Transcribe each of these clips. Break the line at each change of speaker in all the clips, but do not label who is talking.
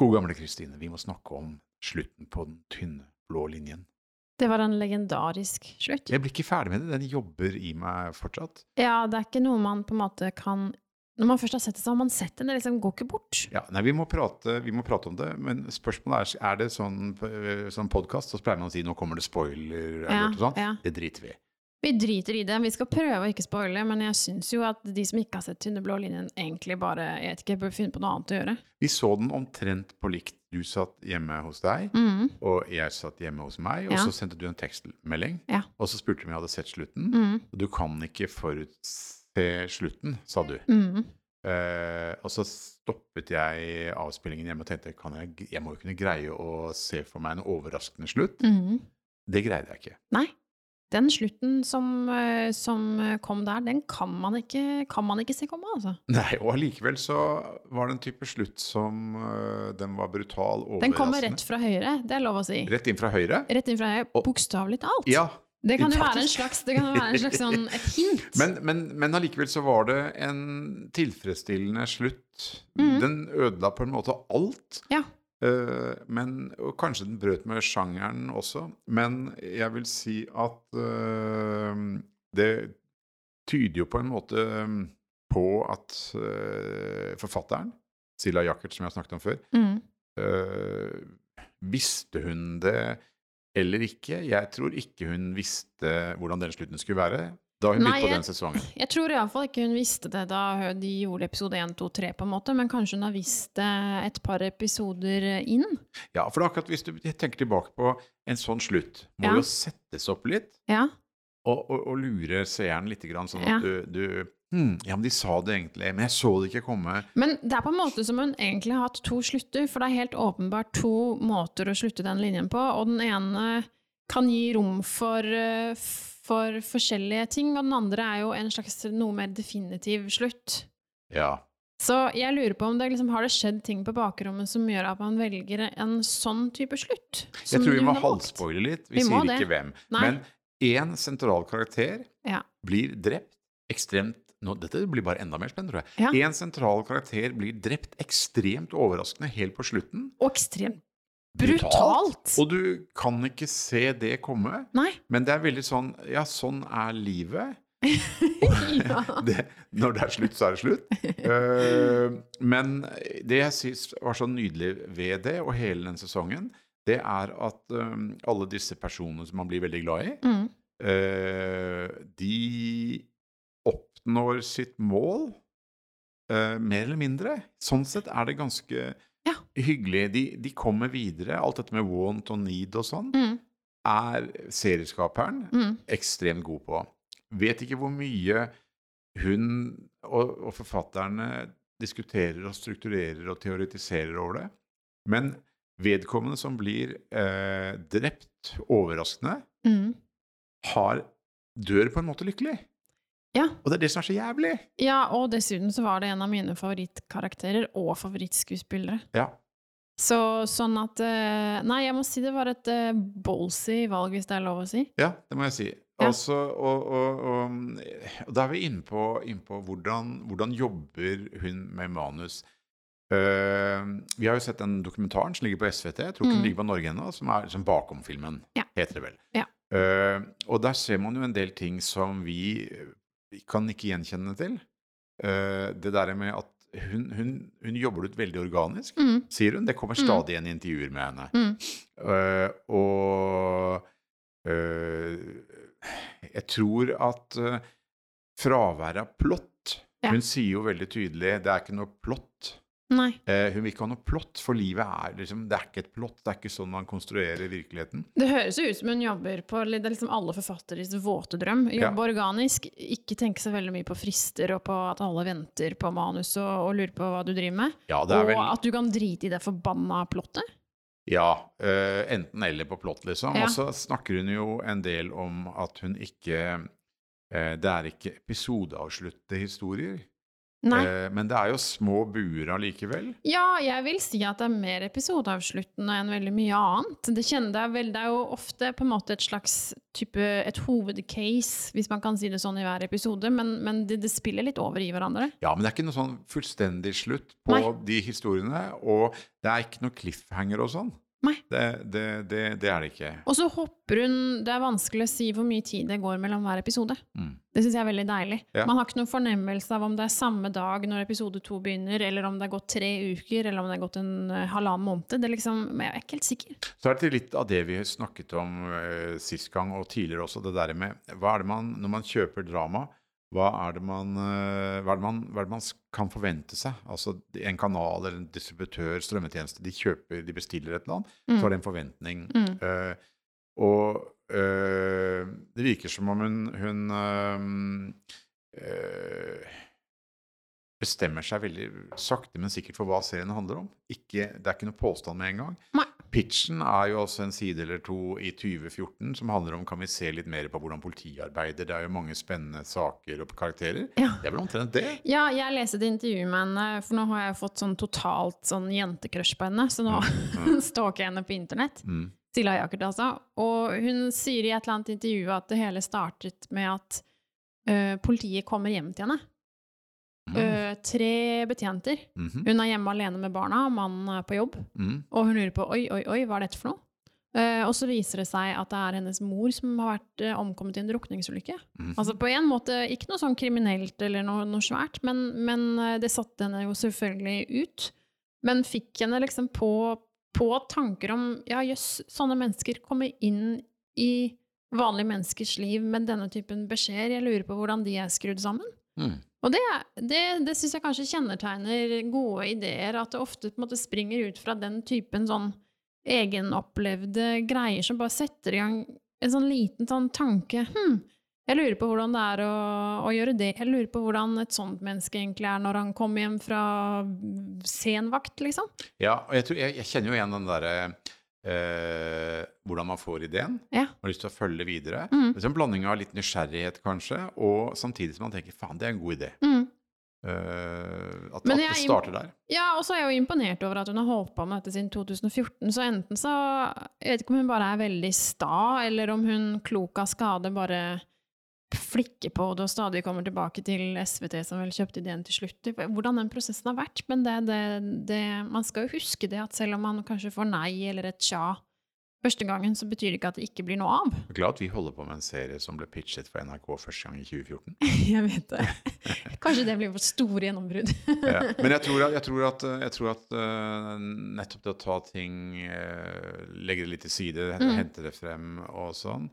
God gamle Kristine, vi må snakke om slutten på den tynne blå linjen.
Det var en legendarisk slutt.
Jeg blir ikke ferdig med det, den jobber i meg fortsatt.
Ja, det er ikke noe man på en måte kan Når man først har sett det, så har man sett det. Det liksom går ikke bort.
Ja, nei, vi må, prate, vi må prate om det, men spørsmålet er er det sånn, eh, sånn podkast, så pleier man å si nå kommer det spoiler
Ja,
alert og sånn.
ja.
Det driter vi i.
Vi driter i det. Vi skal prøve å ikke spoile, men jeg syns jo at de som ikke har sett Tynne blå linjen, egentlig bare jeg vet ikke, bør finne på noe annet å gjøre.
Vi så den omtrent på likt. Du satt hjemme hos deg,
Mm.
og jeg satt hjemme hos meg, og
Ja.
så sendte du en tekstmelding,
Ja.
og så spurte du om jeg hadde sett slutten.
Mm.
Og Du kan ikke forutse slutten, sa du.
Mm.
Eh, og så stoppet jeg avspillingen hjemme og tenkte kan jeg, jeg må jo kunne greie å se for meg en overraskende slutt.
Mm.
Det greide jeg ikke.
Nei. Den slutten som, eh, som eh, kom der, den kan man ikke, kan man ikke se komme, altså.
Nei, Og allikevel så var det en type slutt som eh, Den var brutal, overraskende.
Den kommer rett fra høyre, det er lov å si.
Rett inn fra høyre?
altså, Rett inn fra høyre,
Og-
bokstavelig talt.
Ja.
det kan jo være en
faktisk.
slags, det kan jo være en slags sånn, et hint.
Men, men, men allikevel så var det en tilfredsstillende slutt.
Mhm.
Den ødela på en måte alt.
Ja.
Eh, men, og kanskje den brøt med sjangeren også, men jeg vil si at eh, det tyder jo på en måte eh, på at eh, forfatteren, Silla Jackert, som jeg har snakket om før,
Mm.
eh, visste hun det eller ikke? Jeg tror ikke hun visste hvordan den slutten skulle være da hun
Nei,
begynte på
jeg-
den sesongen.
Jeg tror iallfall ikke hun visste det da de gjorde episode 1, 2, 3, på en måte, men kanskje hun har visst det et par episoder inn.
Ja, for det er akkurat hvis du tenker tilbake på en sånn slutt, må
Ja.
jo settes opp litt.
Ja.
og, og, og lure seeren litt, grann, sånn
Ja.
at du, du hm, Ja, men de sa det egentlig, men jeg så det ikke komme.
Men det er på en måte som hun egentlig har hatt to slutter, for det er helt åpenbart to måter å slutte den linjen på, og den ene kan gi rom for, eh, for forskjellige ting, og den andre er jo en slags noe mer definitiv slutt.
Ja.
Så jeg lurer på om det liksom, har det skjedd ting på bakrommet som gjør at man velger en sånn type slutt? som
Jeg tror vi
hun
må
har valgt?
halvspoile litt.
Vi
Vi,
må
sier
det.
ikke hvem.
Nei.
Men én sentral karakter
Ja.
blir drept ekstremt nå, Dette blir bare enda mer spennende, tror
Ja.
jeg. Én sentral karakter blir drept ekstremt overraskende helt på slutten.
Og ekstremt brutalt!
Og du kan ikke se det komme.
Nei.
Men det er veldig sånn Ja, sånn er livet.
ja.
det, når det er slutt, så er det slutt. Eh, men det jeg syns var så nydelig ved det, og hele den sesongen, det er at eh, alle disse personene som man blir veldig glad i,
Mm.
eh, de oppnår sitt mål. eh, mer eller mindre. Sånn sett er det ganske
Ja.
hyggelig. De, de kommer videre. Alt dette med want og need og sånn
Mm.
er serieskaperen
Mm.
ekstremt god på. Vet ikke hvor mye hun og, og forfatterne diskuterer og strukturerer og teoretiserer over det. Men vedkommende som blir eh, drept overraskende,
Mm.
har, dør på en måte lykkelig.
Ja.
Og det er det som er så jævlig.
Ja, og dessuten så var det en av mine favorittkarakterer og favorittskuespillere.
Ja.
Så sånn at eh, Nei, jeg må si det var et eh, ballsy valg, hvis det er lov å si.
Ja, det må jeg si.
Ja.
Altså, og, og, og, og da er vi inne på, inne på hvordan, hvordan jobber hun med manus. Eh, vi har jo sett den dokumentaren som ligger på SVT, jeg tror ikke
Mm.
den ligger på Norge ennå, som er liksom bakom filmen,
Ja.
heter det vel.
Ja.
Eh, og der ser man jo en del ting som vi, vi kan ikke gjenkjenne til. Eh, det der med at hun, hun, hun jobber det ut veldig organisk
Mm.
sier hun. Det kommer
Mm.
stadig igjen i intervjuer med henne.
Mm.
Eh, og eh, jeg tror at eh, fraværet av plott
Ja.
Hun sier jo veldig tydelig det er ikke noe plott.
Nei.
Eh, hun vil ikke ha noe plott, for livet er liksom Det er ikke et plott. Det er ikke sånn man konstruerer virkeligheten.
Det høres jo ut som hun jobber på det er liksom alle forfatteres våte drøm. Jobbe organisk, ikke tenke så veldig mye på frister og på at alle venter på manus og, og lurer på hva du driver med.
Ja, det er
og
vel
at du kan drite i det forbanna plottet.
Ja. eh, enten eller på plott, liksom.
Ja.
Og så snakker hun jo en del om at hun ikke eh, Det er ikke episodeavsluttede historier.
Nei.
Eh, men det er jo små buer allikevel.
Ja, jeg vil si at det er mer episodeavsluttende enn veldig mye annet. Det, kjenner, det, er vel, det er jo ofte på en måte et slags type, et hovedcase, hvis man kan si det sånn i hver episode, men, men det, det spiller litt over i hverandre.
Ja, men det er ikke noe sånn fullstendig slutt på
Nei.
de historiene. Og det er ikke noe cliffhanger og sånn.
Nei.
Det, det, det, det er det ikke.
Og så hopper hun Det er vanskelig å si hvor mye tid det går mellom hver episode.
Mm.
Det syns jeg er veldig deilig.
Ja.
Man har ikke noen fornemmelse av om det er samme dag når episode to begynner, eller om det er gått tre uker, eller om det er gått en eh, halvannen måned. Det er liksom, men jeg er ikke helt sikker.
Så er det litt av det vi snakket om eh, sist gang og tidligere også, det der med hva er det man, når man kjøper drama, hva er det man, eh, hva er det man, hva er det man s- kan forvente seg? Altså en kanal eller en distributør, strømmetjeneste, de kjøper, de bestiller et eller annet, så er det en forventning.
Mm.
Eh, og eh, det virker som om hun, hun eh, eh, bestemmer seg veldig sakte, men sikkert for hva serien handler om. Ikke, det er ikke noe påstand med en gang.
Nei.
Pitchen er jo også en side eller to i 2014 som handler om kan vi se litt mer på hvordan politiet arbeider. Det er jo mange spennende saker og karakterer.
Ja.
Det er vel omtrent det.
Ja, jeg leste et intervju med henne, for nå har jeg fått sånn totalt sånn jentekrush på henne, så nå stalker jeg henne på internett.
Mm.
Silla Jakert, altså. Og hun sier i et eller annet intervju at det hele startet med at eh, politiet kommer hjem til henne.
Mm.
Eh, tre betjenter.
Mhm.
Hun er hjemme alene med barna, mannen er på jobb,
Mm.
og hun lurer på oi, oi, oi, hva er dette for noe? Eh, og så viser det seg at det er hennes mor som har vært eh, omkommet i en drukningsulykke.
Mhm.
Altså på en måte ikke noe sånn kriminelt eller noe, noe svært, men, men eh, det satte henne jo selvfølgelig ut. Men fikk henne liksom på, på tanker om ja, jøss, sånne mennesker kommer inn i vanlige menneskers liv med denne typen beskjeder. Jeg lurer på hvordan de er skrudd sammen.
Mm.
Og det, det, det syns jeg kanskje kjennetegner gode ideer, at det ofte på en måte springer ut fra den typen sånn egenopplevde greier som bare setter i gang en sånn liten sånn tanke Hm, jeg lurer på hvordan det er å, å gjøre det. Jeg lurer på hvordan et sånt menneske egentlig er når han kommer hjem fra senvakt, liksom.
Ja, og jeg, tror, jeg, jeg kjenner jo igjen den derre eh, Hvordan man får ideen.
Ja.
Man har lyst til å følge det videre.
Mm.
Det er en blanding av litt nysgjerrighet, kanskje, og samtidig som man tenker faen, det er en god idé.
Mm.
Eh, at at
Men jeg
det
er im-
starter der.
Ja, og så er jeg jo imponert over at hun har holdt på med dette siden 2014, så enten så Jeg vet ikke om hun bare er veldig sta, eller om hun klok av skade bare flikker på det og stadig kommer tilbake til SVT, som vel kjøpte ideen til slutt. Hvordan den prosessen har vært. Men det, det, det, man skal jo huske det at selv om man kanskje får nei eller et tja første gangen, så betyr det ikke at det ikke blir noe av.
Jeg er glad at vi holder på med en serie som ble pitchet for NRK første gang i 2014.
Jeg vet det. Kanskje det blir vårt store gjennombrudd.
Ja. Men jeg tror at, jeg tror at, jeg tror at eh, nettopp det å ta ting, eh, legge det litt til side, hente,
Mm.
hente det frem og sånn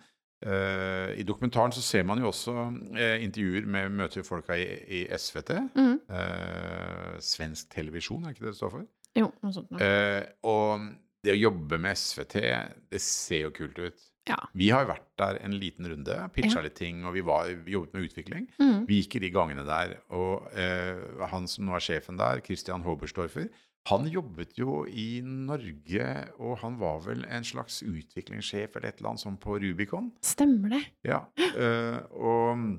eh, I dokumentaren så ser man jo også eh, intervjuer med møter folka i, i SVT.
Mm.
Eh, svensk televisjon, er ikke det det står for?
Jo, noe sånt noe.
Eh, og det å jobbe med SVT, det ser jo kult ut.
Ja.
Vi har jo vært der en liten runde, pitcha
Ja.
litt ting, og vi, var, vi jobbet med utvikling.
Mm.
Vi gikk i de gangene der, og eh, han som nå er sjefen der, Christian Hoberstorfer, han jobbet jo i Norge, og han var vel en slags utviklingssjef eller et eller annet sånn på Rubicon.
Stemmer det.
Ja, eh, og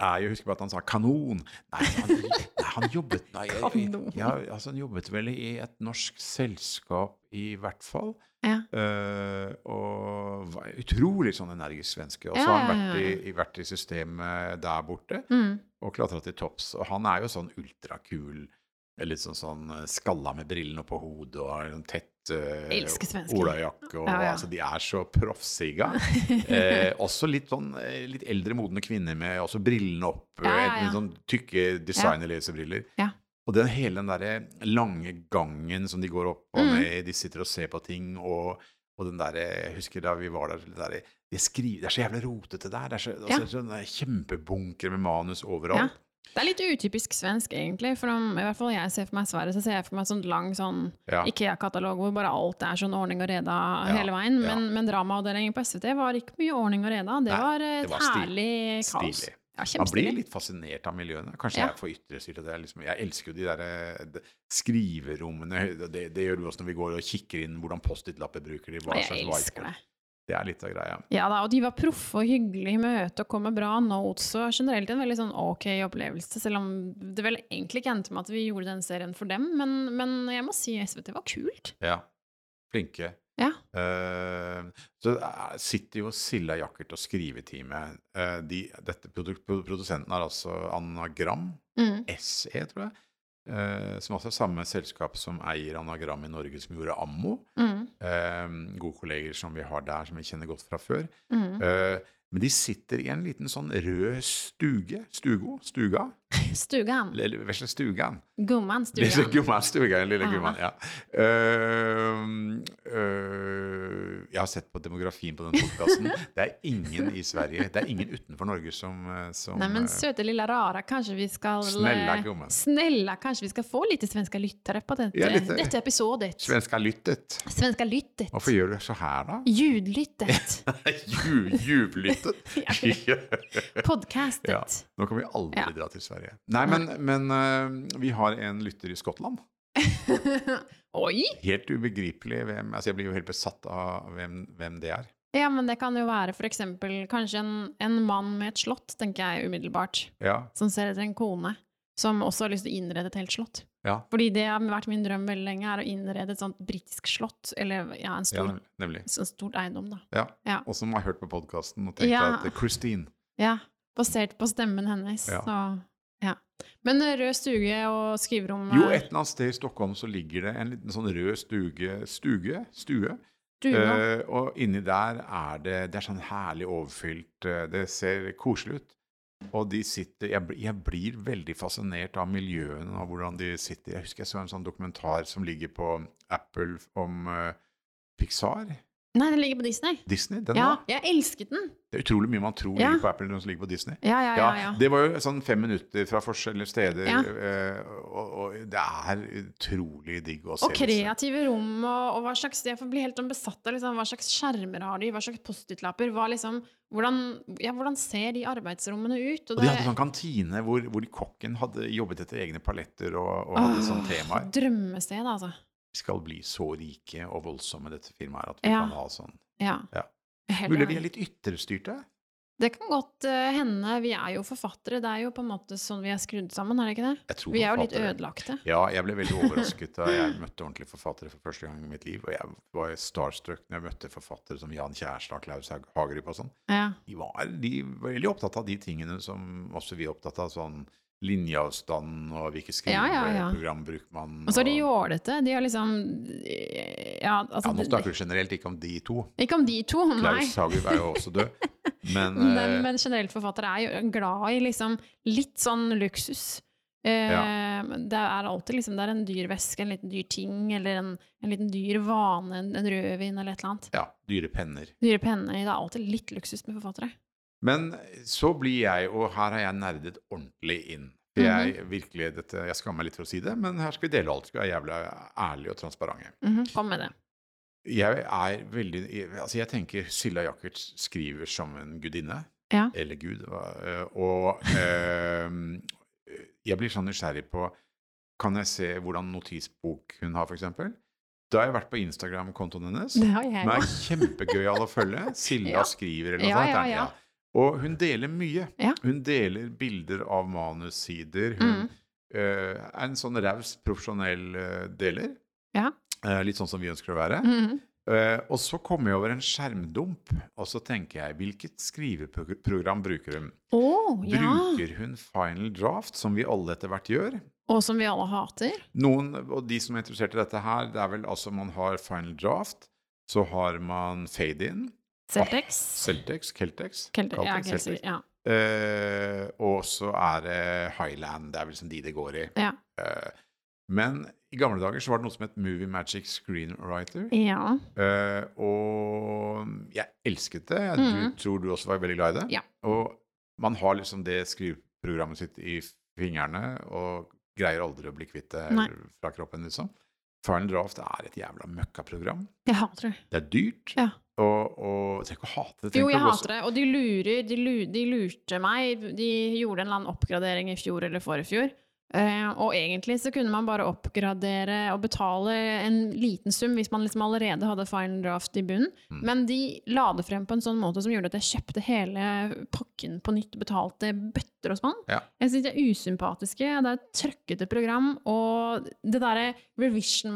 jeg husker bare at han sa 'kanon'. Nei, han, nei, han jobbet nei, jeg,
Kanon.
Ja, altså, Han jobbet vel i et norsk selskap, i hvert fall.
Ja.
Eh, og var utrolig sånn energisk svenske. Og så
Ja,
har han
ja,
vært
ja.
i, i, vært i systemet der borte
Mm.
og klatra til topps. Og han er jo sånn ultrakul, litt sånn, sånn eh, skalla med brillene oppå hodet og har en tett uh,
Elsker svensker.
olajakke. Og,
Ja, ja.
Altså, de er så proffsigga. Eh, også litt sånn eh, litt eldre, modne kvinner med også brillene opp,
Ja, ja,
eh,
ja.
med sånn tykke designerlesebriller.
Ja.
Og den, hele den derre lange gangen som de går opp og
Mm.
ned, i, de sitter og ser på ting, og, og den derre Jeg husker da vi var der, det derre de skriver, Det er så jævlig rotete der. Det er så,
Ja.
altså, sånne kjempebunker med manus overalt.
Ja. Det er litt utypisk svensk, egentlig. For om, i hvert fall jeg ser for meg Sverige, så ser jeg for meg sånn lang sånn
Ja.
Ikea-katalog hvor bare alt er sånn ordning og reda hele veien.
ja.
Men, men dramaavdelingen på SVT var ikke mye ordning og reda. Det
Nei,
var et
det var stil-
herlig kaos.
Stilig.
Ja,
Man blir
kjempestilig.
litt fascinert av miljøene. Kanskje
Ja.
jeg er for ytrestyrt. at Jeg, liksom, jeg elsker jo de der eh, de- skriverommene. Det, det gjør vi også når vi går og kikker inn hvordan Post-It-lapper bruker de. hva
Ja,
slags
jeg
whiteboard.
elsker det.
Det er litt av greia.
Ja da, og de var proffe og hyggelige i møte og kom med bra notes og generelt en veldig sånn ok opplevelse, selv om det vel egentlig ikke endte med at vi gjorde den serien for dem, men, men jeg må si SVT var kult.
Ja. Flinke.
Ja.
Eh, så eh, sitter jo Silla Jackert og skrivetime. Eh, de, dette produ pro- produsenten er altså Anagram,
Mm.
SE, tror jeg, eh, som altså er samme selskap som eier Anagram i Norge, som gjorde Ammo.
Mm.
Eh, gode kolleger som vi har der, som vi kjenner godt fra før.
Mm.
Eh, men de sitter i en liten sånn rød stuge. Stugo? Stuga?
Stugan.
Eller vesle stugan.
Gumman
Lille
Stugan.
gumman, stugan, lille
Ja.
gumman, ja. Ehm, øh, jeg har sett på demografien på den podkasten. Det er ingen i Sverige, det er ingen utenfor Norge som, eh, som
Nei, men
eh,
søte lilla rara, kanskje vi skal
Snälla gumman.
Snälla, kanskje vi skal få litt svenska lyttere på dette,
Ja, eh, lite.
dette episodet.
Svenska lyttet.
Svenska lyttet.
Hvorfor gjør du så her, da?
Ljudlyttet.
Ju- Juvlyttet.
Podcastet.
Ja. Nå kan vi aldri
Ja.
dra til Sverige. Nei, men, men eh, vi har en lytter i Skottland.
Oi!
Helt ubegripelig hvem altså Jeg blir jo helt besatt av hvem, hvem det er.
Ja, men det kan jo være for eksempel kanskje en, en mann med et slott, tenker jeg umiddelbart,
Ja,
som ser etter en kone, som også har lyst til å innrede et helt slott.
ja,
Fordi det har vært min drøm veldig lenge, er å innrede et sånt britisk slott, eller ja, en
ja
stor,
nem- nemlig.
sånn stort eiendom, da.
Ja.
Ja.
Og som har hørt på podkasten og tenkt
Ja.
at eh, Christine
Ja, basert på stemmen hennes.
Ja.
Så, ja. Men eh, rød stuge og skriverom
Jo,
eh,
et eller annet sted i Stockholm så ligger det en liten sånn rød stuge, stuge, stue.
duna.
Eh, og inni der er det Det er sånn herlig overfylt. eh, det ser koselig ut. Og de sitter jeg, blir- jeg blir veldig fascinert av miljøene og hvordan de sitter. Jeg husker jeg så en sånn dokumentar som ligger på Apple om eh, Pixar,
Nei, den ligger på Disney.
Disney. Den
Ja,
da.
jeg elsket den!
Det er utrolig mye man tror
Ja.
ligger på Apple, men som ligger på Disney.
Ja, ja, ja.
Ja,
ja.
Det var jo sånn fem minutter fra forskjellige steder,
Ja.
eh, og, og det er utrolig digg å se.
Og
disse.
kreative rom, og, og hva slags Jeg blir helt sånn besatt av liksom, hva slags skjermer har de, hva slags Post-It-lapper hva liksom, hvordan, ja, hvordan ser de arbeidsrommene ut?
Og de hadde sånn kantine hvor, hvor kokken hadde jobbet etter egne paletter og, og hadde sånne temaer.
Drømmested, altså.
Vi skal bli så rike og voldsomme, dette firmaet, her, at vi
Ja.
kan ha sånn.
Ja.
Ja.
Jeg er helt
Mulig
enig.
vi er litt ytterstyrte?
Det kan godt eh, hende. Vi er jo forfattere. Det er jo på en måte sånn vi er skrudd sammen, er det ikke det?
Jeg tror
Vi er jo litt
forfattere-
ødelagte.
Ja, jeg ble veldig overrasket da jeg møtte ordentlige forfattere for første gang i mitt liv. Og jeg var starstruck når jeg møtte forfattere som Jan Kjærstad, Klaus Haug- Hagerup og sånn.
Ja.
de var, de var veldig opptatt av de tingene som også vi er opptatt av, sånn linjeavstand og hvilke
Ja, ja, ja.
skriveprogram bruker man.
Og så er de jålete. De har liksom Ja, altså
ja, Nå
det-
snakker vi generelt ikke om de to.
Ikke om de to, nei.
Klaus Hagerup er jo også død. Men,
Men,
eh,
men generelt forfattere er jo glad i liksom litt sånn luksus. Eh, Det er alltid liksom Det er en dyr væske, en liten dyr ting, eller en, en liten dyr vane, en, en rødvin eller et eller annet.
ja, dyre penner.
Dyre penner. Det er alltid litt luksus med forfattere.
Men så blir jeg, og her har jeg nerdet ordentlig inn. For Jeg,
Mhm.
virkelig, dette, jeg skammer meg litt for å si det, men her skal vi dele alt. Skal vi være jævla ærlige og transparente.
Mhm, Kom med det.
Jeg er veldig Altså, jeg tenker Silla Jackert skriver som en gudinne.
Ja.
Eller gud. hva- øh, Og øhm, jeg blir sånn nysgjerrig på Kan jeg se hvordan notisbok hun har, f.eks.? Da har jeg vært på Instagram-kontoen hennes.
Det har jeg
Den er
òg.
kjempegøyal å følge. Silla
Ja.
skriver eller noe
Ja,
sånt.
ja,
er det?
ja.
Og hun deler mye.
Ja.
Hun deler bilder av manussider. Hun
Mm.
øh, er en sånn raus, profesjonell øh, deler.
Ja.
Eh, litt sånn som vi ønsker å være.
Mhm.
Eh, og så kom jeg over en skjermdump, og så tenker jeg hvilket skriveprogram bruker hun?
Å, ja!
Bruker hun Final Draft, som vi alle etter hvert gjør?
Og som vi alle hater.
Noen, og de som er interessert i dette her, det er vel altså man har Final Draft, så har man Fade In,
Celtex.
Celtex, Keltex,
Kelter, ja,
Caltex,
Kelter,
Celtex.
ja.
Eh, og så er det Highland, det er vel som de det går i.
Ja.
Eh, men i gamle dager så var det noe som het Movie Magic Screenwriter.
ja.
Eh, og jeg elsket det. Du
Mhm.
tror du også var veldig glad i det.
Ja.
Og man har liksom det skriveprogrammet sitt i fingrene og greier aldri å bli kvitt det
Nei.
fra kroppen, liksom. Final Draft er et jævla møkkaprogram.
Jeg hater det.
Det er dyrt.
Ja.
Og, og trenger ikke å hate det.
Jo, jeg
hater
hater det. Og de lurer. De, lu- de lurte meg. De gjorde en eller annen oppgradering i fjor eller forrige fjor. Eh, og egentlig så kunne man bare oppgradere og betale en liten sum hvis man liksom allerede hadde fine draft i bunnen,
Mm.
men de la det frem på en sånn måte som gjorde at jeg kjøpte hele pakken på nytt, betalte bøtter og spann.
Ja.
Jeg syns de er usympatiske, det er et trøkkete program, og det derre revision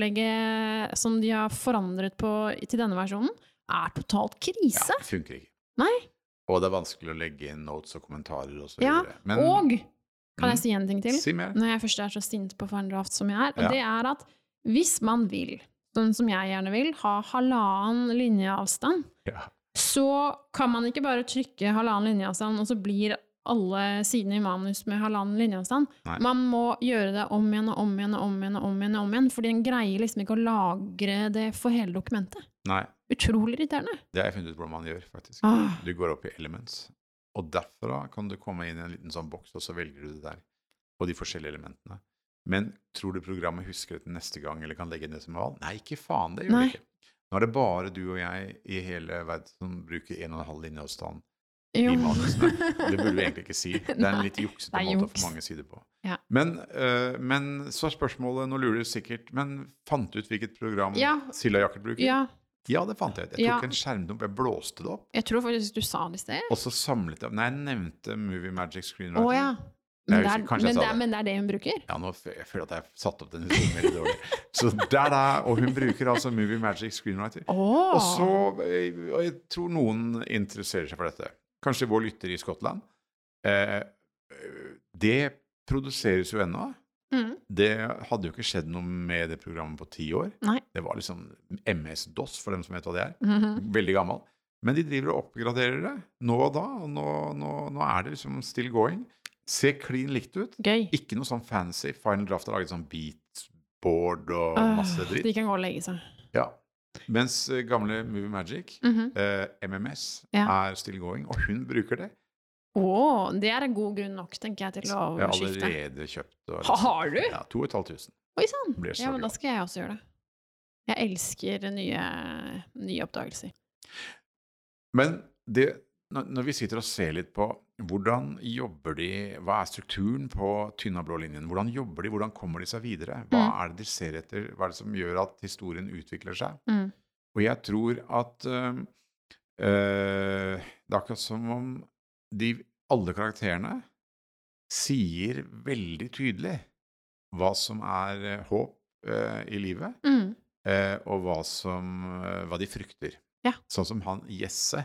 marks-opplegget som de har forandret på til denne versjonen, er totalt krise.
Ja, funker ikke.
Nei.
Og det er vanskelig å legge inn notes og kommentarer og så
Ja,
videre. Men-
og kan
Mm.
jeg si en ting til?
Si mer.
når jeg først er så sint på fandraft som jeg er, og
Ja.
det er at hvis man vil, sånn som jeg gjerne vil, ha halvannen linjeavstand,
Ja.
så kan man ikke bare trykke halvannen linjeavstand, og så blir alle sidene i manus med halvannen linjeavstand.
Nei.
Man må gjøre det om igjen og om igjen og om igjen, og om igjen, og om igjen fordi en greier liksom ikke å lagre det for hele dokumentet.
Nei,
Utrolig irriterende.
det har jeg funnet ut hvordan man gjør, faktisk.
Ah,
Du går opp i Elements, og derfra kan du komme inn i en liten sånn boks, og så velger du det der, og de forskjellige elementene. Men tror du programmet husker det til neste gang, eller kan legge inn det som valg? Nei, ikke faen, det gjør
Nei.
det ikke. Nå er det bare du og jeg i hele verden som bruker en og en halv linjeavstand
jo.
i manusene. Det burde vi egentlig ikke si. Det er en
Nei,
litt juksete
det er
måte å
juks.
få mange sider på.
Ja.
Men, eh, men så er spørsmålet, nå lurer du sikkert, men fant du ut hvilket program
Ja.
Silla Jakkert bruker?
Ja,
Ja, det fant jeg ut. Jeg
Ja.
tok en skjermdump, jeg blåste det opp,
jeg tror faktisk du sa det i sted.
og så samlet jeg Nei, jeg nevnte Movie Magic
Å
Screenwriting.
ja.
Jeg
Men det,
husker- kanskje
er,
jeg
men,
sa
det er,
det.
men det er det hun bruker?
Ja, nå fø- jeg føler at jeg har satt opp den historien veldig dårlig. Så der, der, og hun bruker altså Movie Magic Screenwriter.
Oh.
Og så, eh, og jeg tror noen interesserer seg for dette. Kanskje vår lytter i Skottland. Eh, det produseres jo ennå.
mm.
Det hadde jo ikke skjedd noe med det programmet på ti år.
Nei.
Det var liksom MS-DOS, for dem som vet hva det er.
Mhm.
Veldig gammel. Men de driver og oppgraderer det nå og da. Og nå, nå, nå er det liksom still going. Ser klin likt ut.
Gøy.
Ikke noe sånn fancy. Final Draft har laget sånn beatboard og
Øh,
masse dritt.
De kan gå og legge seg.
Ja. Mens eh, gamle Movie Magic,
Mhm.
eh, MMS,
Ja.
er still going, og hun bruker det.
Å, det er en god grunn nok, tenker jeg, til å
Jeg har
skifte.
allerede kjøpt og
Ha- har du?
Ja, 2500.
Oi sann!
Blir så
Ja, men da
glad.
skal jeg også gjøre det. Jeg elsker nye, nye oppdagelser.
Men det, når når vi sitter og ser litt på hvordan jobber de, hva er strukturen på tynna blå linjen, hvordan jobber de, hvordan kommer de seg videre, hva
Mm.
er det de ser etter, hva er det som gjør at historien utvikler seg?
Mm.
Og jeg tror at øhm, øh, det er akkurat som om de, alle karakterene sier veldig tydelig hva som er øh, håp øh, i livet,
Mm.
eh, og hva, som, eh, hva de frykter.
Ja.
Sånn som han Jesse,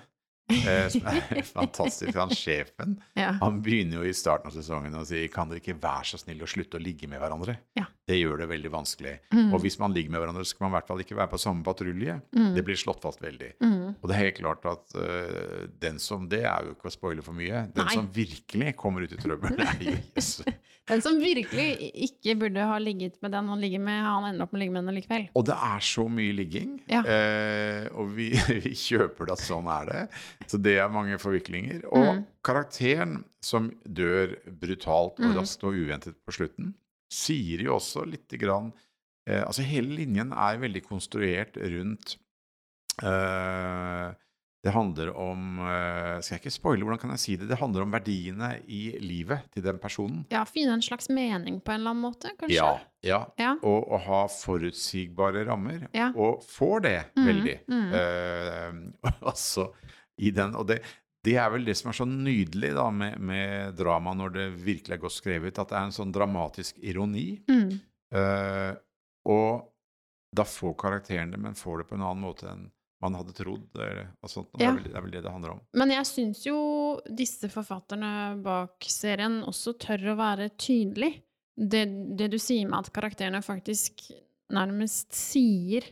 eh, som er fantastisk, Ah, han sjefen.
Ja.
Han begynner jo i starten av sesongen å si kan dere ikke være så snill å slutte å ligge med hverandre?
Ja.
Det gjør det veldig vanskelig.
Mm.
Og hvis man ligger med hverandre, skal man i hvert fall ikke være på samme patrulje.
Mm.
Det blir slått fast veldig.
Mm.
Og det er helt klart at eh, den som Det er jo ikke å spoile for mye. Den
Nei.
som virkelig kommer ut i trøbbel, er jo Jesse.
Den som virkelig i- ikke burde ha ligget med den han ligger med, han ender opp med å ligge med den likevel.
Og det er så mye ligging,
Ja.
eh, og vi, vi kjøper det at sånn er det. Så det er mange forviklinger. Og
Mm.
karakteren som dør brutalt og
Mm.
raskt og uventet på slutten, sier jo også lite grann eh, Altså hele linjen er veldig konstruert rundt eh, Det handler om eh, Skal jeg ikke spoile, hvordan kan jeg si det? Det handler om verdiene i livet til den personen.
Ja, finne en slags mening på en eller annen måte, kanskje?
Ja, ja.
Ja.
Og å ha forutsigbare rammer.
Ja.
Og får det
Mhm,
veldig.
mhm.
Eh, altså, i den, og det, det er vel det som er så nydelig da, med, med drama når det virkelig er godt skrevet, at det er en sånn dramatisk ironi.
Mm.
Eh, og da får karakteren det, men får det på en annen måte enn man hadde trodd. Eller, og sånt. Det,
Ja.
er vel, det er vel det det handler om.
Men jeg syns jo disse forfatterne bak serien også tør å være tydelig. Det, det du sier med at karakterene faktisk nærmest sier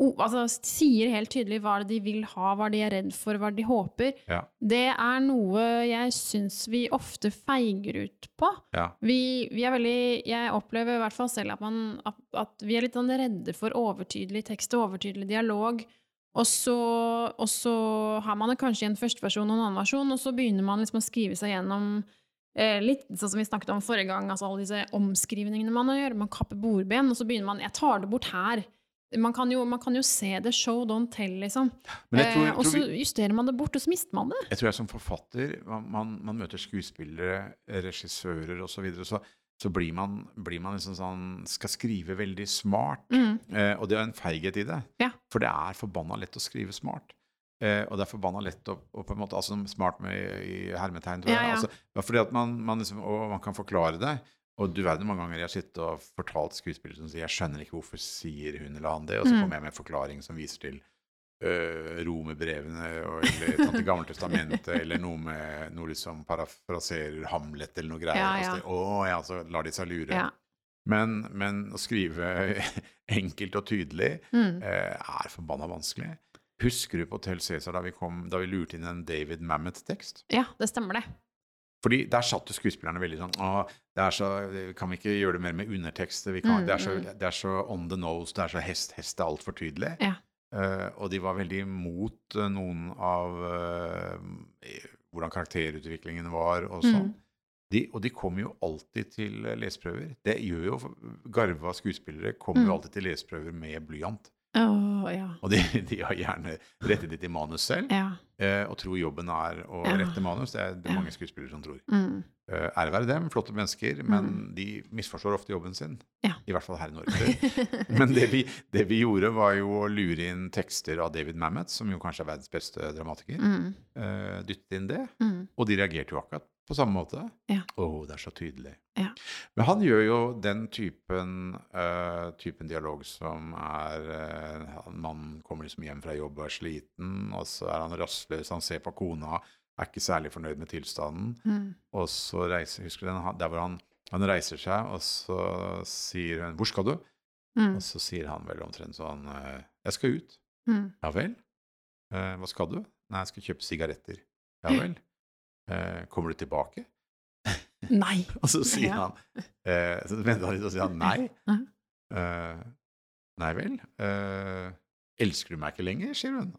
o- Altså sier helt tydelig hva de vil ha, hva de er redd for, hva de håper.
Ja.
Det er noe jeg syns vi ofte feiger ut på.
Ja.
Vi, vi er veldig Jeg opplever i hvert fall selv at, man, at, at vi er litt sånn redde for overtydelig tekst og overtydelig dialog. Og så, og så har man det kanskje i en førsteversjon og en annen versjon, og så begynner man liksom å skrive seg gjennom eh, litt sånn som vi snakket om forrige gang, altså alle disse omskrivningene man gjør. Man kapper bordben, og så begynner man 'Jeg tar det bort her'. Man kan jo, man kan jo se det. Show, don't tell, liksom.
Men jeg tror,
eh, og
tror vi,
så justerer man det bort, og så mister man det.
Jeg tror jeg som forfatter, man, man, man møter skuespillere, regissører osv., så, videre, så så blir man, blir man liksom sånn Skal skrive veldig smart.
Mm.
Eh, og det er en feighet i det.
Ja.
For det er forbanna lett å skrive smart. Eh, og det er forbanna lett å, å på en måte, altså Smart med i hermetegn, tror jeg.
Ja, ja.
Altså, ja, fordi at man, man liksom, og man kan forklare det. Og du verden hvor mange ganger jeg har sittet og fortalt skuespillere som sier 'Jeg skjønner ikke hvorfor sier hun eller han det', og så
Mm.
kommer jeg med en forklaring som viser til øh, romerbrevene og- eller Tante Gammeltestamentet eller noe med noe liksom parafraserer Hamlet eller noe greier.
Ja,
og
ja.
så- Å ja, så lar de seg lure.
Ja.
Men, men å skrive enkelt og tydelig
Mm.
eh, er forbanna vanskelig. Husker du på Hotel Cæsar da vi, kom, da vi lurte inn en David Mammoth-tekst?
ja, det stemmer det.
Fordi der satt jo skuespillerne veldig sånn Å, det er så, kan vi ikke gjøre det mer med undertekster? Vi kan,
Mm,
det, er så,
mm.
det er så on the nose, det er så hest, hest er altfor tydelig.
Ja.
Eh, og de var veldig imot eh, noen av eh, hvordan karakterutviklingen var og sånn.
Mm.
De, og de kommer jo alltid til eh, leseprøver. Det gjør jo garva skuespillere kommer
Mm.
jo alltid til leseprøver med blyant.
Åh, ja.
Og de, de har gjerne rettet det til manus selv,
Ja.
eh, og tror jobben er å
Ja.
rette manus. Det er det
Ja.
mange skuespillere som tror.
Mm.
Eh, ære være dem, flotte mennesker, men de misforstår ofte jobben sin.
Ja.
I hvert fall her i Norge. men det vi, det vi gjorde, var jo å lure inn tekster av David Mamet, som jo kanskje er verdens beste dramatiker.
Mm.
Eh, dyttet inn det.
Mm.
Og de reagerte jo akkurat på samme måte.
Ja.
Å, det er så tydelig.
Ja.
Men han gjør jo den typen, eh, typen dialog som er eh, han- Mannen kommer liksom hjem fra jobb og er sliten, og så er han rastløs, han ser på kona, er ikke særlig fornøyd med tilstanden,
Mm.
og så reiser Husker du den? Han- Der hvor han, han reiser seg, og så sier hun 'Hvor skal du?'
Mm.
Og så sier han vel omtrent sånn eh, 'Jeg skal ut'.
Mm.
Ja vel? Eh, hva skal du? Nei, jeg skal kjøpe sigaretter. Ja vel? Eh, kommer du tilbake?
Nei.
Og så sier
Ja.
han eh, Så venter han litt og sier han nei.
Mhm.
Eh, nei vel? Eh, elsker du meg ikke lenger? sier hun.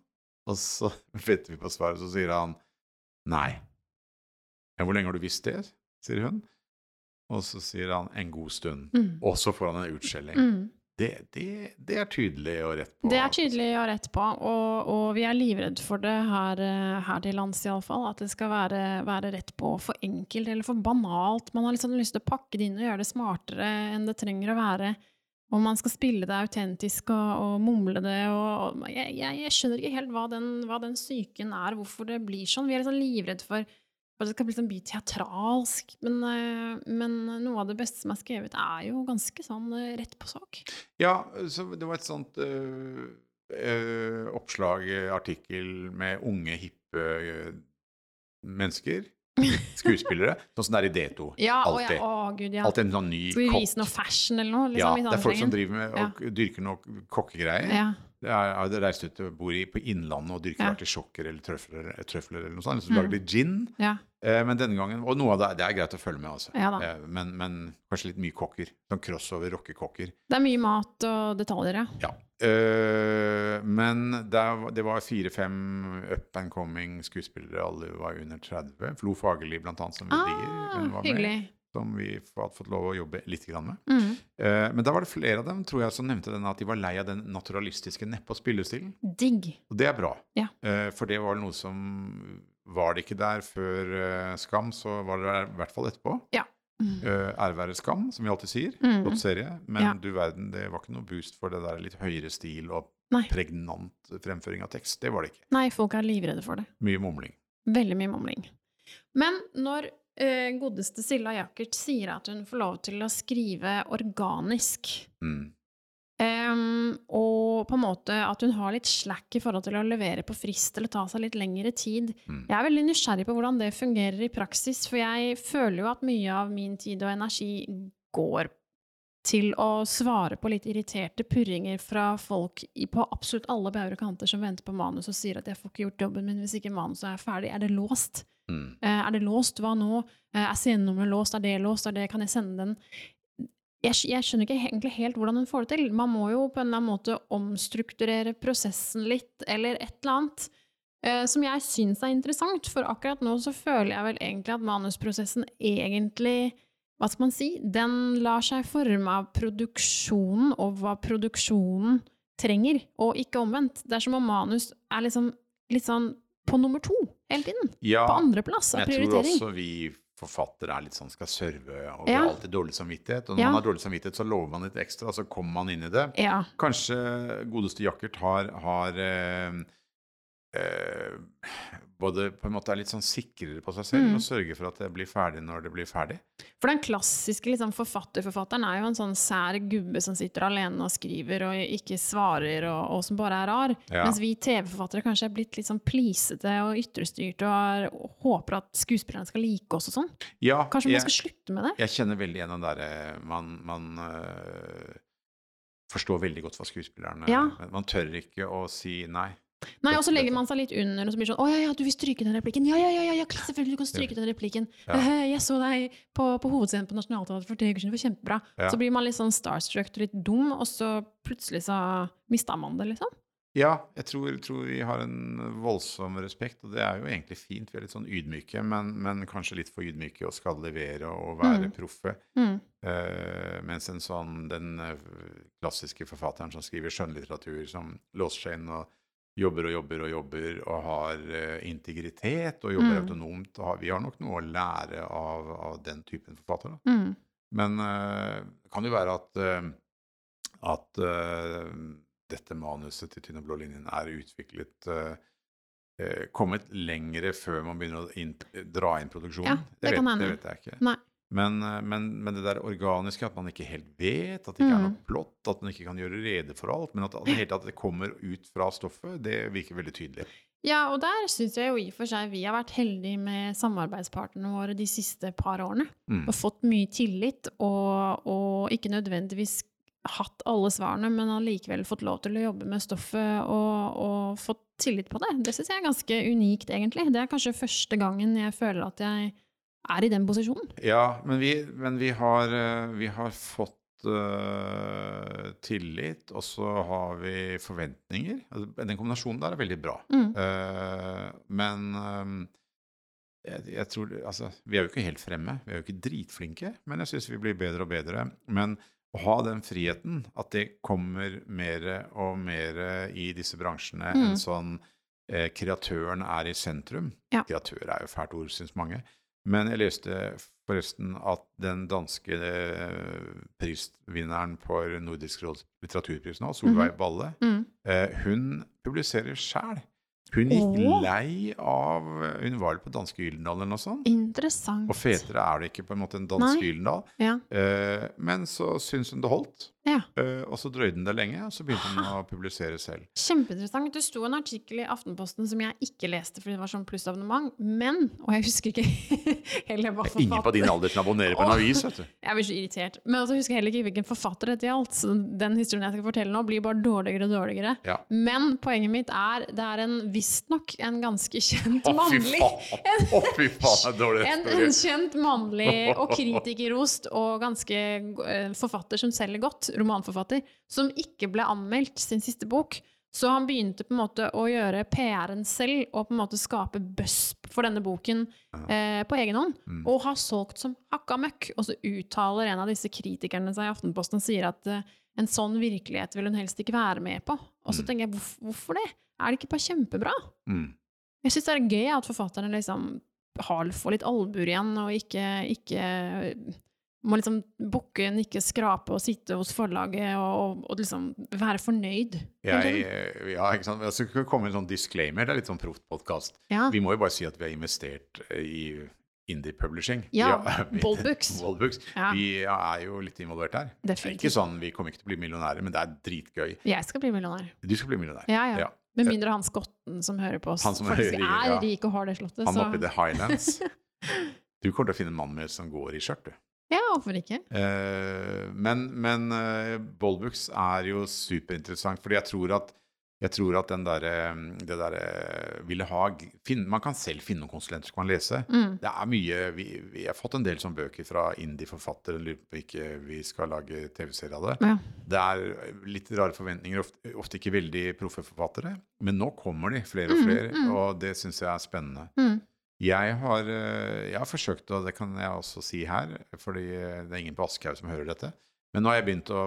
Og så venter vi på svaret, så sier han nei. Ja, hvor lenge har du visst det? sier hun. Og så sier han en god stund.
Mm.
Og så får han en utskjelling.
Mm.
Det, det, det er tydelig og rett på.
Det er tydelig og rett på, og, og vi er livredd for det her, eh, her til lands iallfall. At det skal være, være rett på for enkelt eller for banalt. Man har litt sånn lyst til å pakke det inn og gjøre det smartere enn det trenger å være. Og man skal spille det autentisk og, og mumle det og, og jeg, jeg, jeg skjønner ikke helt hva den, hva den psyken er, hvorfor det blir sånn. Vi er litt sånn livredd for for at det skal bli, sånn, bli teatralsk. Men, eh, men noe av det beste som er skrevet, er jo ganske sånn eh, rett på sak.
Ja, så det var et sånt øh, øh, oppslag, øh, artikkel med unge, hippe øh, mennesker, skuespillere, sånn som det er i D2.
Ja, å, ja,
Alltid.
å gud, ja.
Alltid en sånn ny
Skal vi
kokk.
vise noe fashion eller noe?
ja,
Liksom, i
det er folk som
sammenhengen?
driver med og dyrker noe kokkegreier.
ja.
Det er, er det reist ut og bor i, på Innlandet og dyrker
Ja.
artisjokker eller trøfler, eh, trøfler eller noe sånt. Så
Mm.
lager de gin.
Ja.
Eh, men denne gangen, Og noe av det, det er greit å følge med, altså.
Ja da.
Eh, men, men kanskje litt mye kokker. Sånn crossover rockekokker.
Det er mye mat og detaljer, ja.
Ja. Eh, men der, var- det var fire-fem up and coming skuespillere, alle var under 30. Flo Fagerli, blant annet, som vi digger. hun
Ah,
var Med,
hyggelig.
som vi f- hadde fått lov å jobbe litt grann med.
Mm.
Eh, men da var det flere av dem tror jeg, som nevnte den at de var lei av den naturalistiske neppe- og spillestilen.
Digg.
Og det er bra,
Ja.
Eh, for det var noe som Var det ikke der før eh, Skam, så var det der i hvert fall etterpå.
Mm.
Uh, ære være Skam, som vi alltid sier.
Mm.
Flott serie, men
Ja.
du verden, det var ikke noe boost for det der litt høyere stil og
Nei.
pregnant fremføring av tekst. Det var det ikke.
Nei, folk er livredde for det.
Mye mumling.
Veldig mye mumling. Men når eh, godeste Silla Jackert sier at hun får lov til å skrive organisk,
Mm.
Ehm, og på en måte at hun har litt slack i forhold til å levere på frist eller ta seg litt lengre tid.
Mm.
Jeg er veldig nysgjerrig på hvordan det fungerer i praksis, for jeg føler jo at mye av min tid og energi går til å svare på litt irriterte purringer fra folk i, på absolutt alle bauger og kanter som venter på manus og sier at 'jeg får ikke gjort jobben min hvis ikke manuset er ferdig'. Er det låst?
Mm.
Eh, Er det låst? Hva nå? Eh, Er scenenummeret låst? Er det låst? Er det, kan jeg sende den? Jeg, skj- jeg skjønner ikke he- egentlig helt hvordan hun får det til. Man må jo på en eller annen måte omstrukturere prosessen litt, eller et eller annet, eh, som jeg syns er interessant. For akkurat nå så føler jeg vel egentlig at manusprosessen egentlig hva skal man si? Den lar seg forme av produksjonen og hva produksjonen trenger, og ikke omvendt. Det er som om manus er liksom, litt sånn på nummer to hele tiden
Ja,
på andreplass av
jeg tror
prioritering.
også vi forfatter er litt sånn skal serve og
Ja.
har alltid dårlig samvittighet. Og når
Ja.
man har dårlig samvittighet, så lover man litt ekstra, og så kommer man inn i det.
Ja.
Kanskje godeste Jakkert har, har eh, eh, både på en måte er litt sånn sikrere på seg selv
Mm.
og sørger for at det blir ferdig når det blir ferdig.
For den klassiske liksom, forfatterforfatteren er jo en sånn sær gubbe som sitter alene og skriver og ikke svarer, og, og som bare er rar.
Ja.
Mens vi TV-forfattere kanskje er blitt litt sånn plisete og ytrestyrte og, er, og håper at skuespillerne skal like oss og sånn.
Ja,
Kanskje man
jeg,
skal slutte med det?
jeg kjenner veldig igjen den derre man, man eh, forstår veldig godt hva skuespillerne
Ja.
Man tør ikke å si nei.
Nei, og så legger man seg litt under og så blir det sånn 'Å ja, ja, du vil stryke den replikken'. Ja, ja, ja, ja, ja klar, selvfølgelig du kan stryke den replikken.
Ja.
«Eh, Jeg så deg på, på hovedscenen på Nationaltheatret for tre uker siden, det var kjempebra.
Ja.
Så blir man litt sånn starstruck og litt dum, og så plutselig så mister man det, liksom.
Ja, jeg tror, tror vi har en voldsom respekt, og det er jo egentlig fint. Vi er litt sånn ydmyke, men, men kanskje litt for ydmyke og skal levere og være
Mm.
proffe.
Mm.
Eh, mens en sånn, den eh, klassiske forfatteren som skriver skjønnlitteratur, som låser seg inn og jobber og jobber og jobber, og har eh, integritet og jobber
Mm.
autonomt og har, Vi har nok noe å lære av, av den typen forfattere.
Mm.
Men eh, det kan jo være at, eh, at eh, dette manuset til Tynn og blå linjen er utviklet eh, eh, Kommet lengre før man begynner å inn, dra inn produksjonen.
Ja, det
vet,
kan hende.
Det vet jeg ikke.
Nei.
Men, eh, men, men det der organiske, at man ikke helt vet, at det ikke er
Mm.
noe plott, at man ikke kan gjøre rede for alt, men at, at, det hele tatt det kommer ut fra stoffet, det virker veldig tydelig.
Ja, og der syns jeg jo i og for seg vi har vært heldige med samarbeidspartnerne våre de siste par årene.
Mm.
Og fått mye tillit, og, og ikke nødvendigvis hatt alle svarene, men allikevel fått lov til å jobbe med stoffet og, og fått tillit på det. Det syns jeg er ganske unikt, egentlig. Det er kanskje første gangen jeg føler at jeg er i den posisjonen.
Ja, men vi, men vi, har, eh, vi har fått eh, tillit, og så har vi forventninger. Altså, Den kombinasjonen der er veldig bra.
Mm.
Eh, men eh, jeg, jeg tror Altså, vi er jo ikke helt fremme. Vi er jo ikke dritflinke, men jeg syns vi blir bedre og bedre. Men å ha den friheten, at det kommer mer og mer i disse bransjene
Mm.
enn sånn eh, kreatøren er i sentrum.
Ja.
Kreatør er jo fælt ord, syns mange. Men jeg leste forresten at den danske eh, prisvinneren for Nordisk råds litteraturpris nå, Solveig Balle,
Mm.
eh, hun publiserer sjæl. Hun gikk
Åh.
lei av eh, Hun var vel på danske Gyldendal eller noe sånt?
Interessant.
Og fetere er det ikke, på en måte, enn danske
Nei.
Gyldendal.
Ja.
Eh, men så syns hun det holdt,
ja.
eh, og så drøyde hun det lenge, og så begynte hun å publisere selv.
Kjempeinteressant. Det sto en artikkel i Aftenposten som jeg ikke leste fordi det var sånn plussabonnement, men Og jeg husker ikke heller hva forfatter
Ingen på din alder som abonnerer på en
Åh.
avis, vet du.
Jeg blir så irritert. Men også husker jeg heller ikke hvilken forfatter dette gjaldt. Så den historien jeg skal fortelle nå, blir bare dårligere og dårligere.
Ja.
Men poenget mitt er det er en visstnok en ganske kjent
Å, fy
mannlig
faen! Å, fy faen, det er dårlig
en, en
historie.
kjent mannlig og kritikerrost og ganske eh, forfatter som selger godt, romanforfatter, som ikke ble anmeldt sin siste bok. Så han begynte på en måte å gjøre PR-en selv og på en måte skape buzz for denne boken eh, på egen hånd.
Mm.
Og har solgt som hakka møkk. Og så uttaler en av disse kritikerne seg i Aftenposten og sier at eh, en sånn virkelighet vil hun helst ikke være med på. Og så
Mm.
tenker jeg, hvorf- hvorfor det? Er det ikke bare kjempebra?
Mm.
Jeg syns det er gøy at forfatterne liksom har, får litt albuer igjen, og ikke, ikke må liksom bukke, nikke, skrape og sitte hos forlaget og, og, og liksom være fornøyd.
Jeg,
sånn-
eh, ja, ikke sant? Altså, det skal komme en sånn disclaimer. Det er litt sånn proffpodkast.
Ja.
Vi må jo bare si at vi har investert eh, i indie publishing.
Ja,
vi-
Bold Books.
Bold Books.
Ja.
Vi er jo litt involvert der. Det er ikke
Definitivt.
sånn vi kommer ikke til å bli millionærer, men det er dritgøy.
Jeg skal bli millionær.
Du skal bli millionær.
Ja, ja.
Ja.
Med mindre han skotten som hører på oss,
Han som
faktisk
hører i- ja.
er rik og har det slottet.
Han oppe i
Så.
The Highlands. Du kommer til å finne en mann med som går i skjørt, du.
Ja, hvorfor ikke?
Eh, men men eh, Bollbooks er jo superinteressant, fordi jeg tror at, jeg tror at den derre det derre ville ha finn, Man kan selv finne noen konsulenter som kan lese.
Mm.
Det er mye vi, vi har fått en del sånne bøker fra indie-forfattere. Lurer på om ikke vi skal lage TV-serie av det.
Ja.
Det er eh, litt rare forventninger, ofte, ofte ikke veldig proffe forfattere. Men nå kommer de, flere og
Mm,
flere,
mm.
og det syns jeg er spennende.
Mm.
Jeg har, eh, jeg har forsøkt, og det kan jeg også si her, fordi eh, det er ingen på Aschehoug som hører dette, men nå har jeg begynt å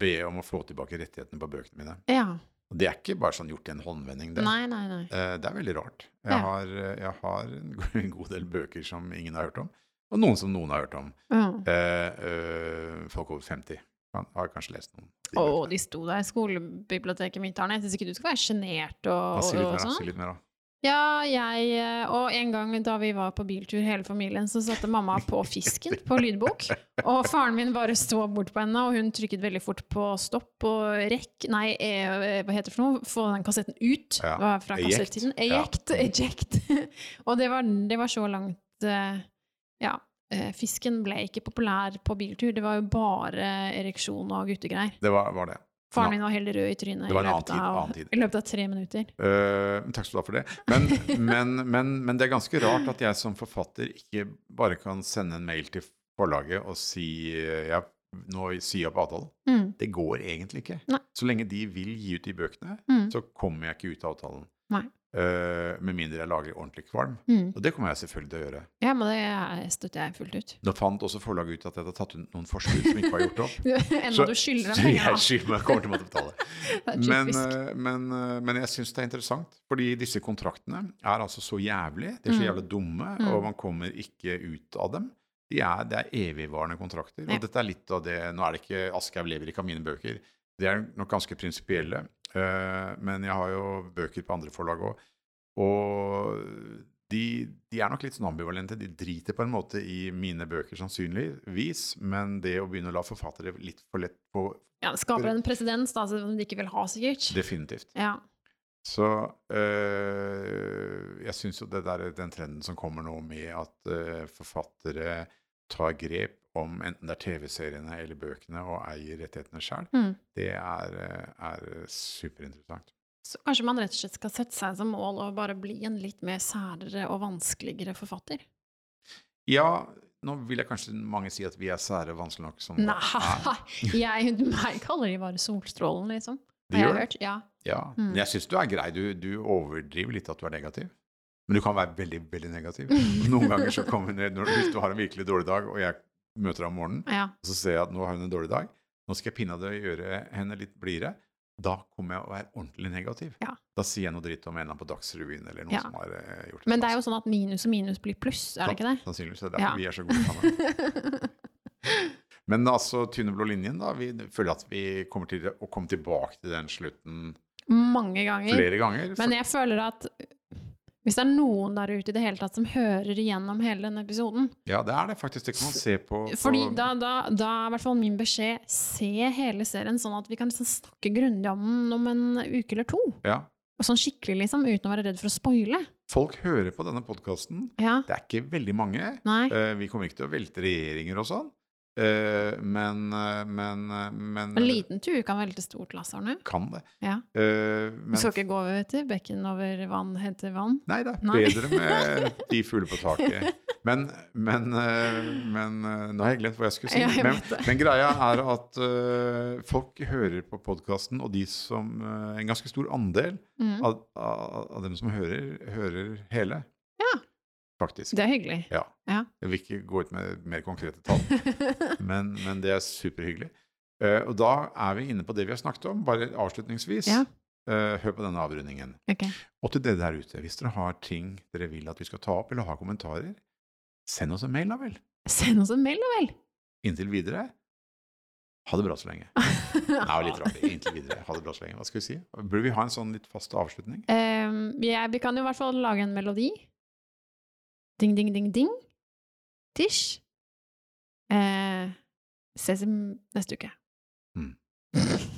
be om å få tilbake rettighetene på bøkene mine.
ja.
Og det er ikke bare sånn gjort i en håndvending. Det,
Nei, nei, nei.
Eh, det er veldig rart. Jeg,
Ja.
har, jeg har en go- en god del bøker som ingen har hørt om, og noen som noen har hørt om.
Ja.
Eh, eh, folk over 50 kan, har kanskje lest noen. av de
Å,
bøkene.
de sto der i skolebiblioteket mitt, Arne. Jeg syns ikke du skal være sjenert
Ja,
og,
si
og,
litt
og
mer, da.
sånn.
Si litt mer, da.
Ja, jeg eh, Og en gang da vi var på biltur hele familien, så satte mamma på fisken på lydbok. Og faren min bare så bort på henne, og hun trykket veldig fort på stopp og rekk Nei, eh, hva heter det for noe? Få den kassetten ut.
Ja,
Det var fra
eject.
kassettiden.
Ja. Mm.
Eject. Eject. og det var, det var så langt eh, Ja. eh, Fisken ble ikke populær på biltur. Det var jo bare ereksjon og guttegreier.
Det var, var det.
Faren
Nei.
min var helt rød i trynet
Det var
i,
en annen
løpet
tid,
av,
annen tid.
i løpet av tre minutter.
Eh, takk skal du ha for det. Men, men, men, men det er ganske rart at jeg som forfatter ikke bare kan sende en mail til forlaget og si eh, ja, nå sier jeg opp avtalen.
Mm,
Det går egentlig ikke.
Nei.
Så lenge de vil gi ut de bøkene,
mm,
så kommer jeg ikke ut av avtalen.
Nei.
Eh, med mindre jeg lager ordentlig kvalm.
mm.
Og det kommer jeg selvfølgelig til å gjøre.
Ja, men det støtter jeg fullt ut.
Nå fant også forlaget ut at jeg hadde tatt ut noen forskudd som ikke var gjort opp.
Enda du skylder dem
så
penger,
jeg skylder meg kommer til å måtte betale.
da. Det er
Men,
typisk.
eh, men, eh, men jeg syns det er interessant, fordi disse kontraktene er altså så jævlige. De er så
Mm.
jævlig dumme,
Mm.
og man kommer ikke ut av dem. De er, det er evigvarende kontrakter.
Ja.
Og dette er litt av det Nå er det ikke Aschehoug lever ikke av mine bøker. De er nok ganske prinsipielle, eh, men jeg har jo bøker på andre forlag òg. Og de, de er nok litt sånn ambivalente. De driter på en måte i mine bøker, sannsynligvis, men det å begynne å la forfattere litt for lett på
Ja, det skaper en presedens da, som de ikke vil ha, sikkert.
Definitivt.
Ja.
Så øh, jeg syns jo det der, den trenden som kommer nå med at øh, forfattere tar grep om enten det er TV-seriene eller bøkene og eier rettighetene sjøl,
Mm.
det er, øh, er superinteressant.
Så kanskje man rett og slett skal sette seg som mål å bare bli en litt mer særere og vanskeligere forfatter?
Ja, nå vil jeg kanskje mange si at vi er sære og vanskelig nok som det er.
Nei, jeg, meg kaller de bare Solstrålen, liksom.
De
Har jeg
gjør det.
hørt? Ja.
Ja.
Mm.
Men jeg syns du er grei. Du, du overdriver litt at du er negativ. Men du kan være veldig, veldig negativ. Noen ganger så kommer du ned når, hvis du har en virkelig dårlig dag, og jeg møter deg om morgenen.
ja.
Og så ser jeg at nå har hun en dårlig dag. Nå skal jeg pinadø gjøre henne litt blidere. Da kommer jeg å være ordentlig negativ.
Ja.
Da sier jeg noe dritt om en eller annen på Dagsrevyen eller noen
Ja.
som har eh, gjort
Men det er jo sånn at minus og minus blir pluss, er det ikke det?
Sannsynligvis er det derfor
Ja.
vi er så gode sammen. Men altså, tynne blå linjen, da. Vi føler at vi kommer til å komme tilbake til den slutten
Mange ganger.
flere ganger.
Men jeg føler at hvis det er noen der ute i det hele tatt som hører igjennom hele denne episoden,
ja, det er det faktisk. Det kan man se på, på
Fordi da, da, da er i hvert fall min beskjed se hele serien, sånn at vi kan liksom snakke grundig om den om en uke eller to.
ja.
Og sånn skikkelig, liksom, uten å være redd for å spoile.
Folk hører på denne podkasten.
Ja,
Det er ikke veldig mange.
nei.
Eh, vi kommer ikke til å velte regjeringer og sånn. Eh, men, eh, men, eh, men
En liten tur kan velte stort lass, Arne.
kan det.
Ja.
Eh,
Du
men
skal ikke gå over vet du, bekken over vann, hente vann.
Nei, det er
Nei.
bedre med de fugler på taket. Men, men, eh, men eh, Nå har jeg glemt hva jeg skulle si.
Ja, jeg
men,
vet det.
men greia er at eh, folk hører på podkasten, og de som, eh, en ganske stor andel
Mm.
av, av, av dem som hører, hører hele.
Ja.
Faktisk.
Det er hyggelig.
Ja.
Ja.
Jeg vil ikke gå ut med mer konkrete tall, men, men det er superhyggelig. Eh, og da er vi inne på det vi har snakket om, bare avslutningsvis.
Ja.
Eh, hør på denne avrundingen.
Ok.
Og til dere der ute, hvis dere har ting dere vil at vi skal ta opp, eller har kommentarer, send oss en mail, da vel.
Send oss en mail, da vel!
Inntil videre, ha det bra så lenge. Det er jo litt rart. Inntil videre, ha det bra så lenge. Hva skal vi si? Burde vi ha en sånn litt fast avslutning?
Ehm, jeg, vi kan jo i hvert fall lage en melodi. Ding, ding, ding, ding. Tish. Eh, ses i m- neste uke.
Mm.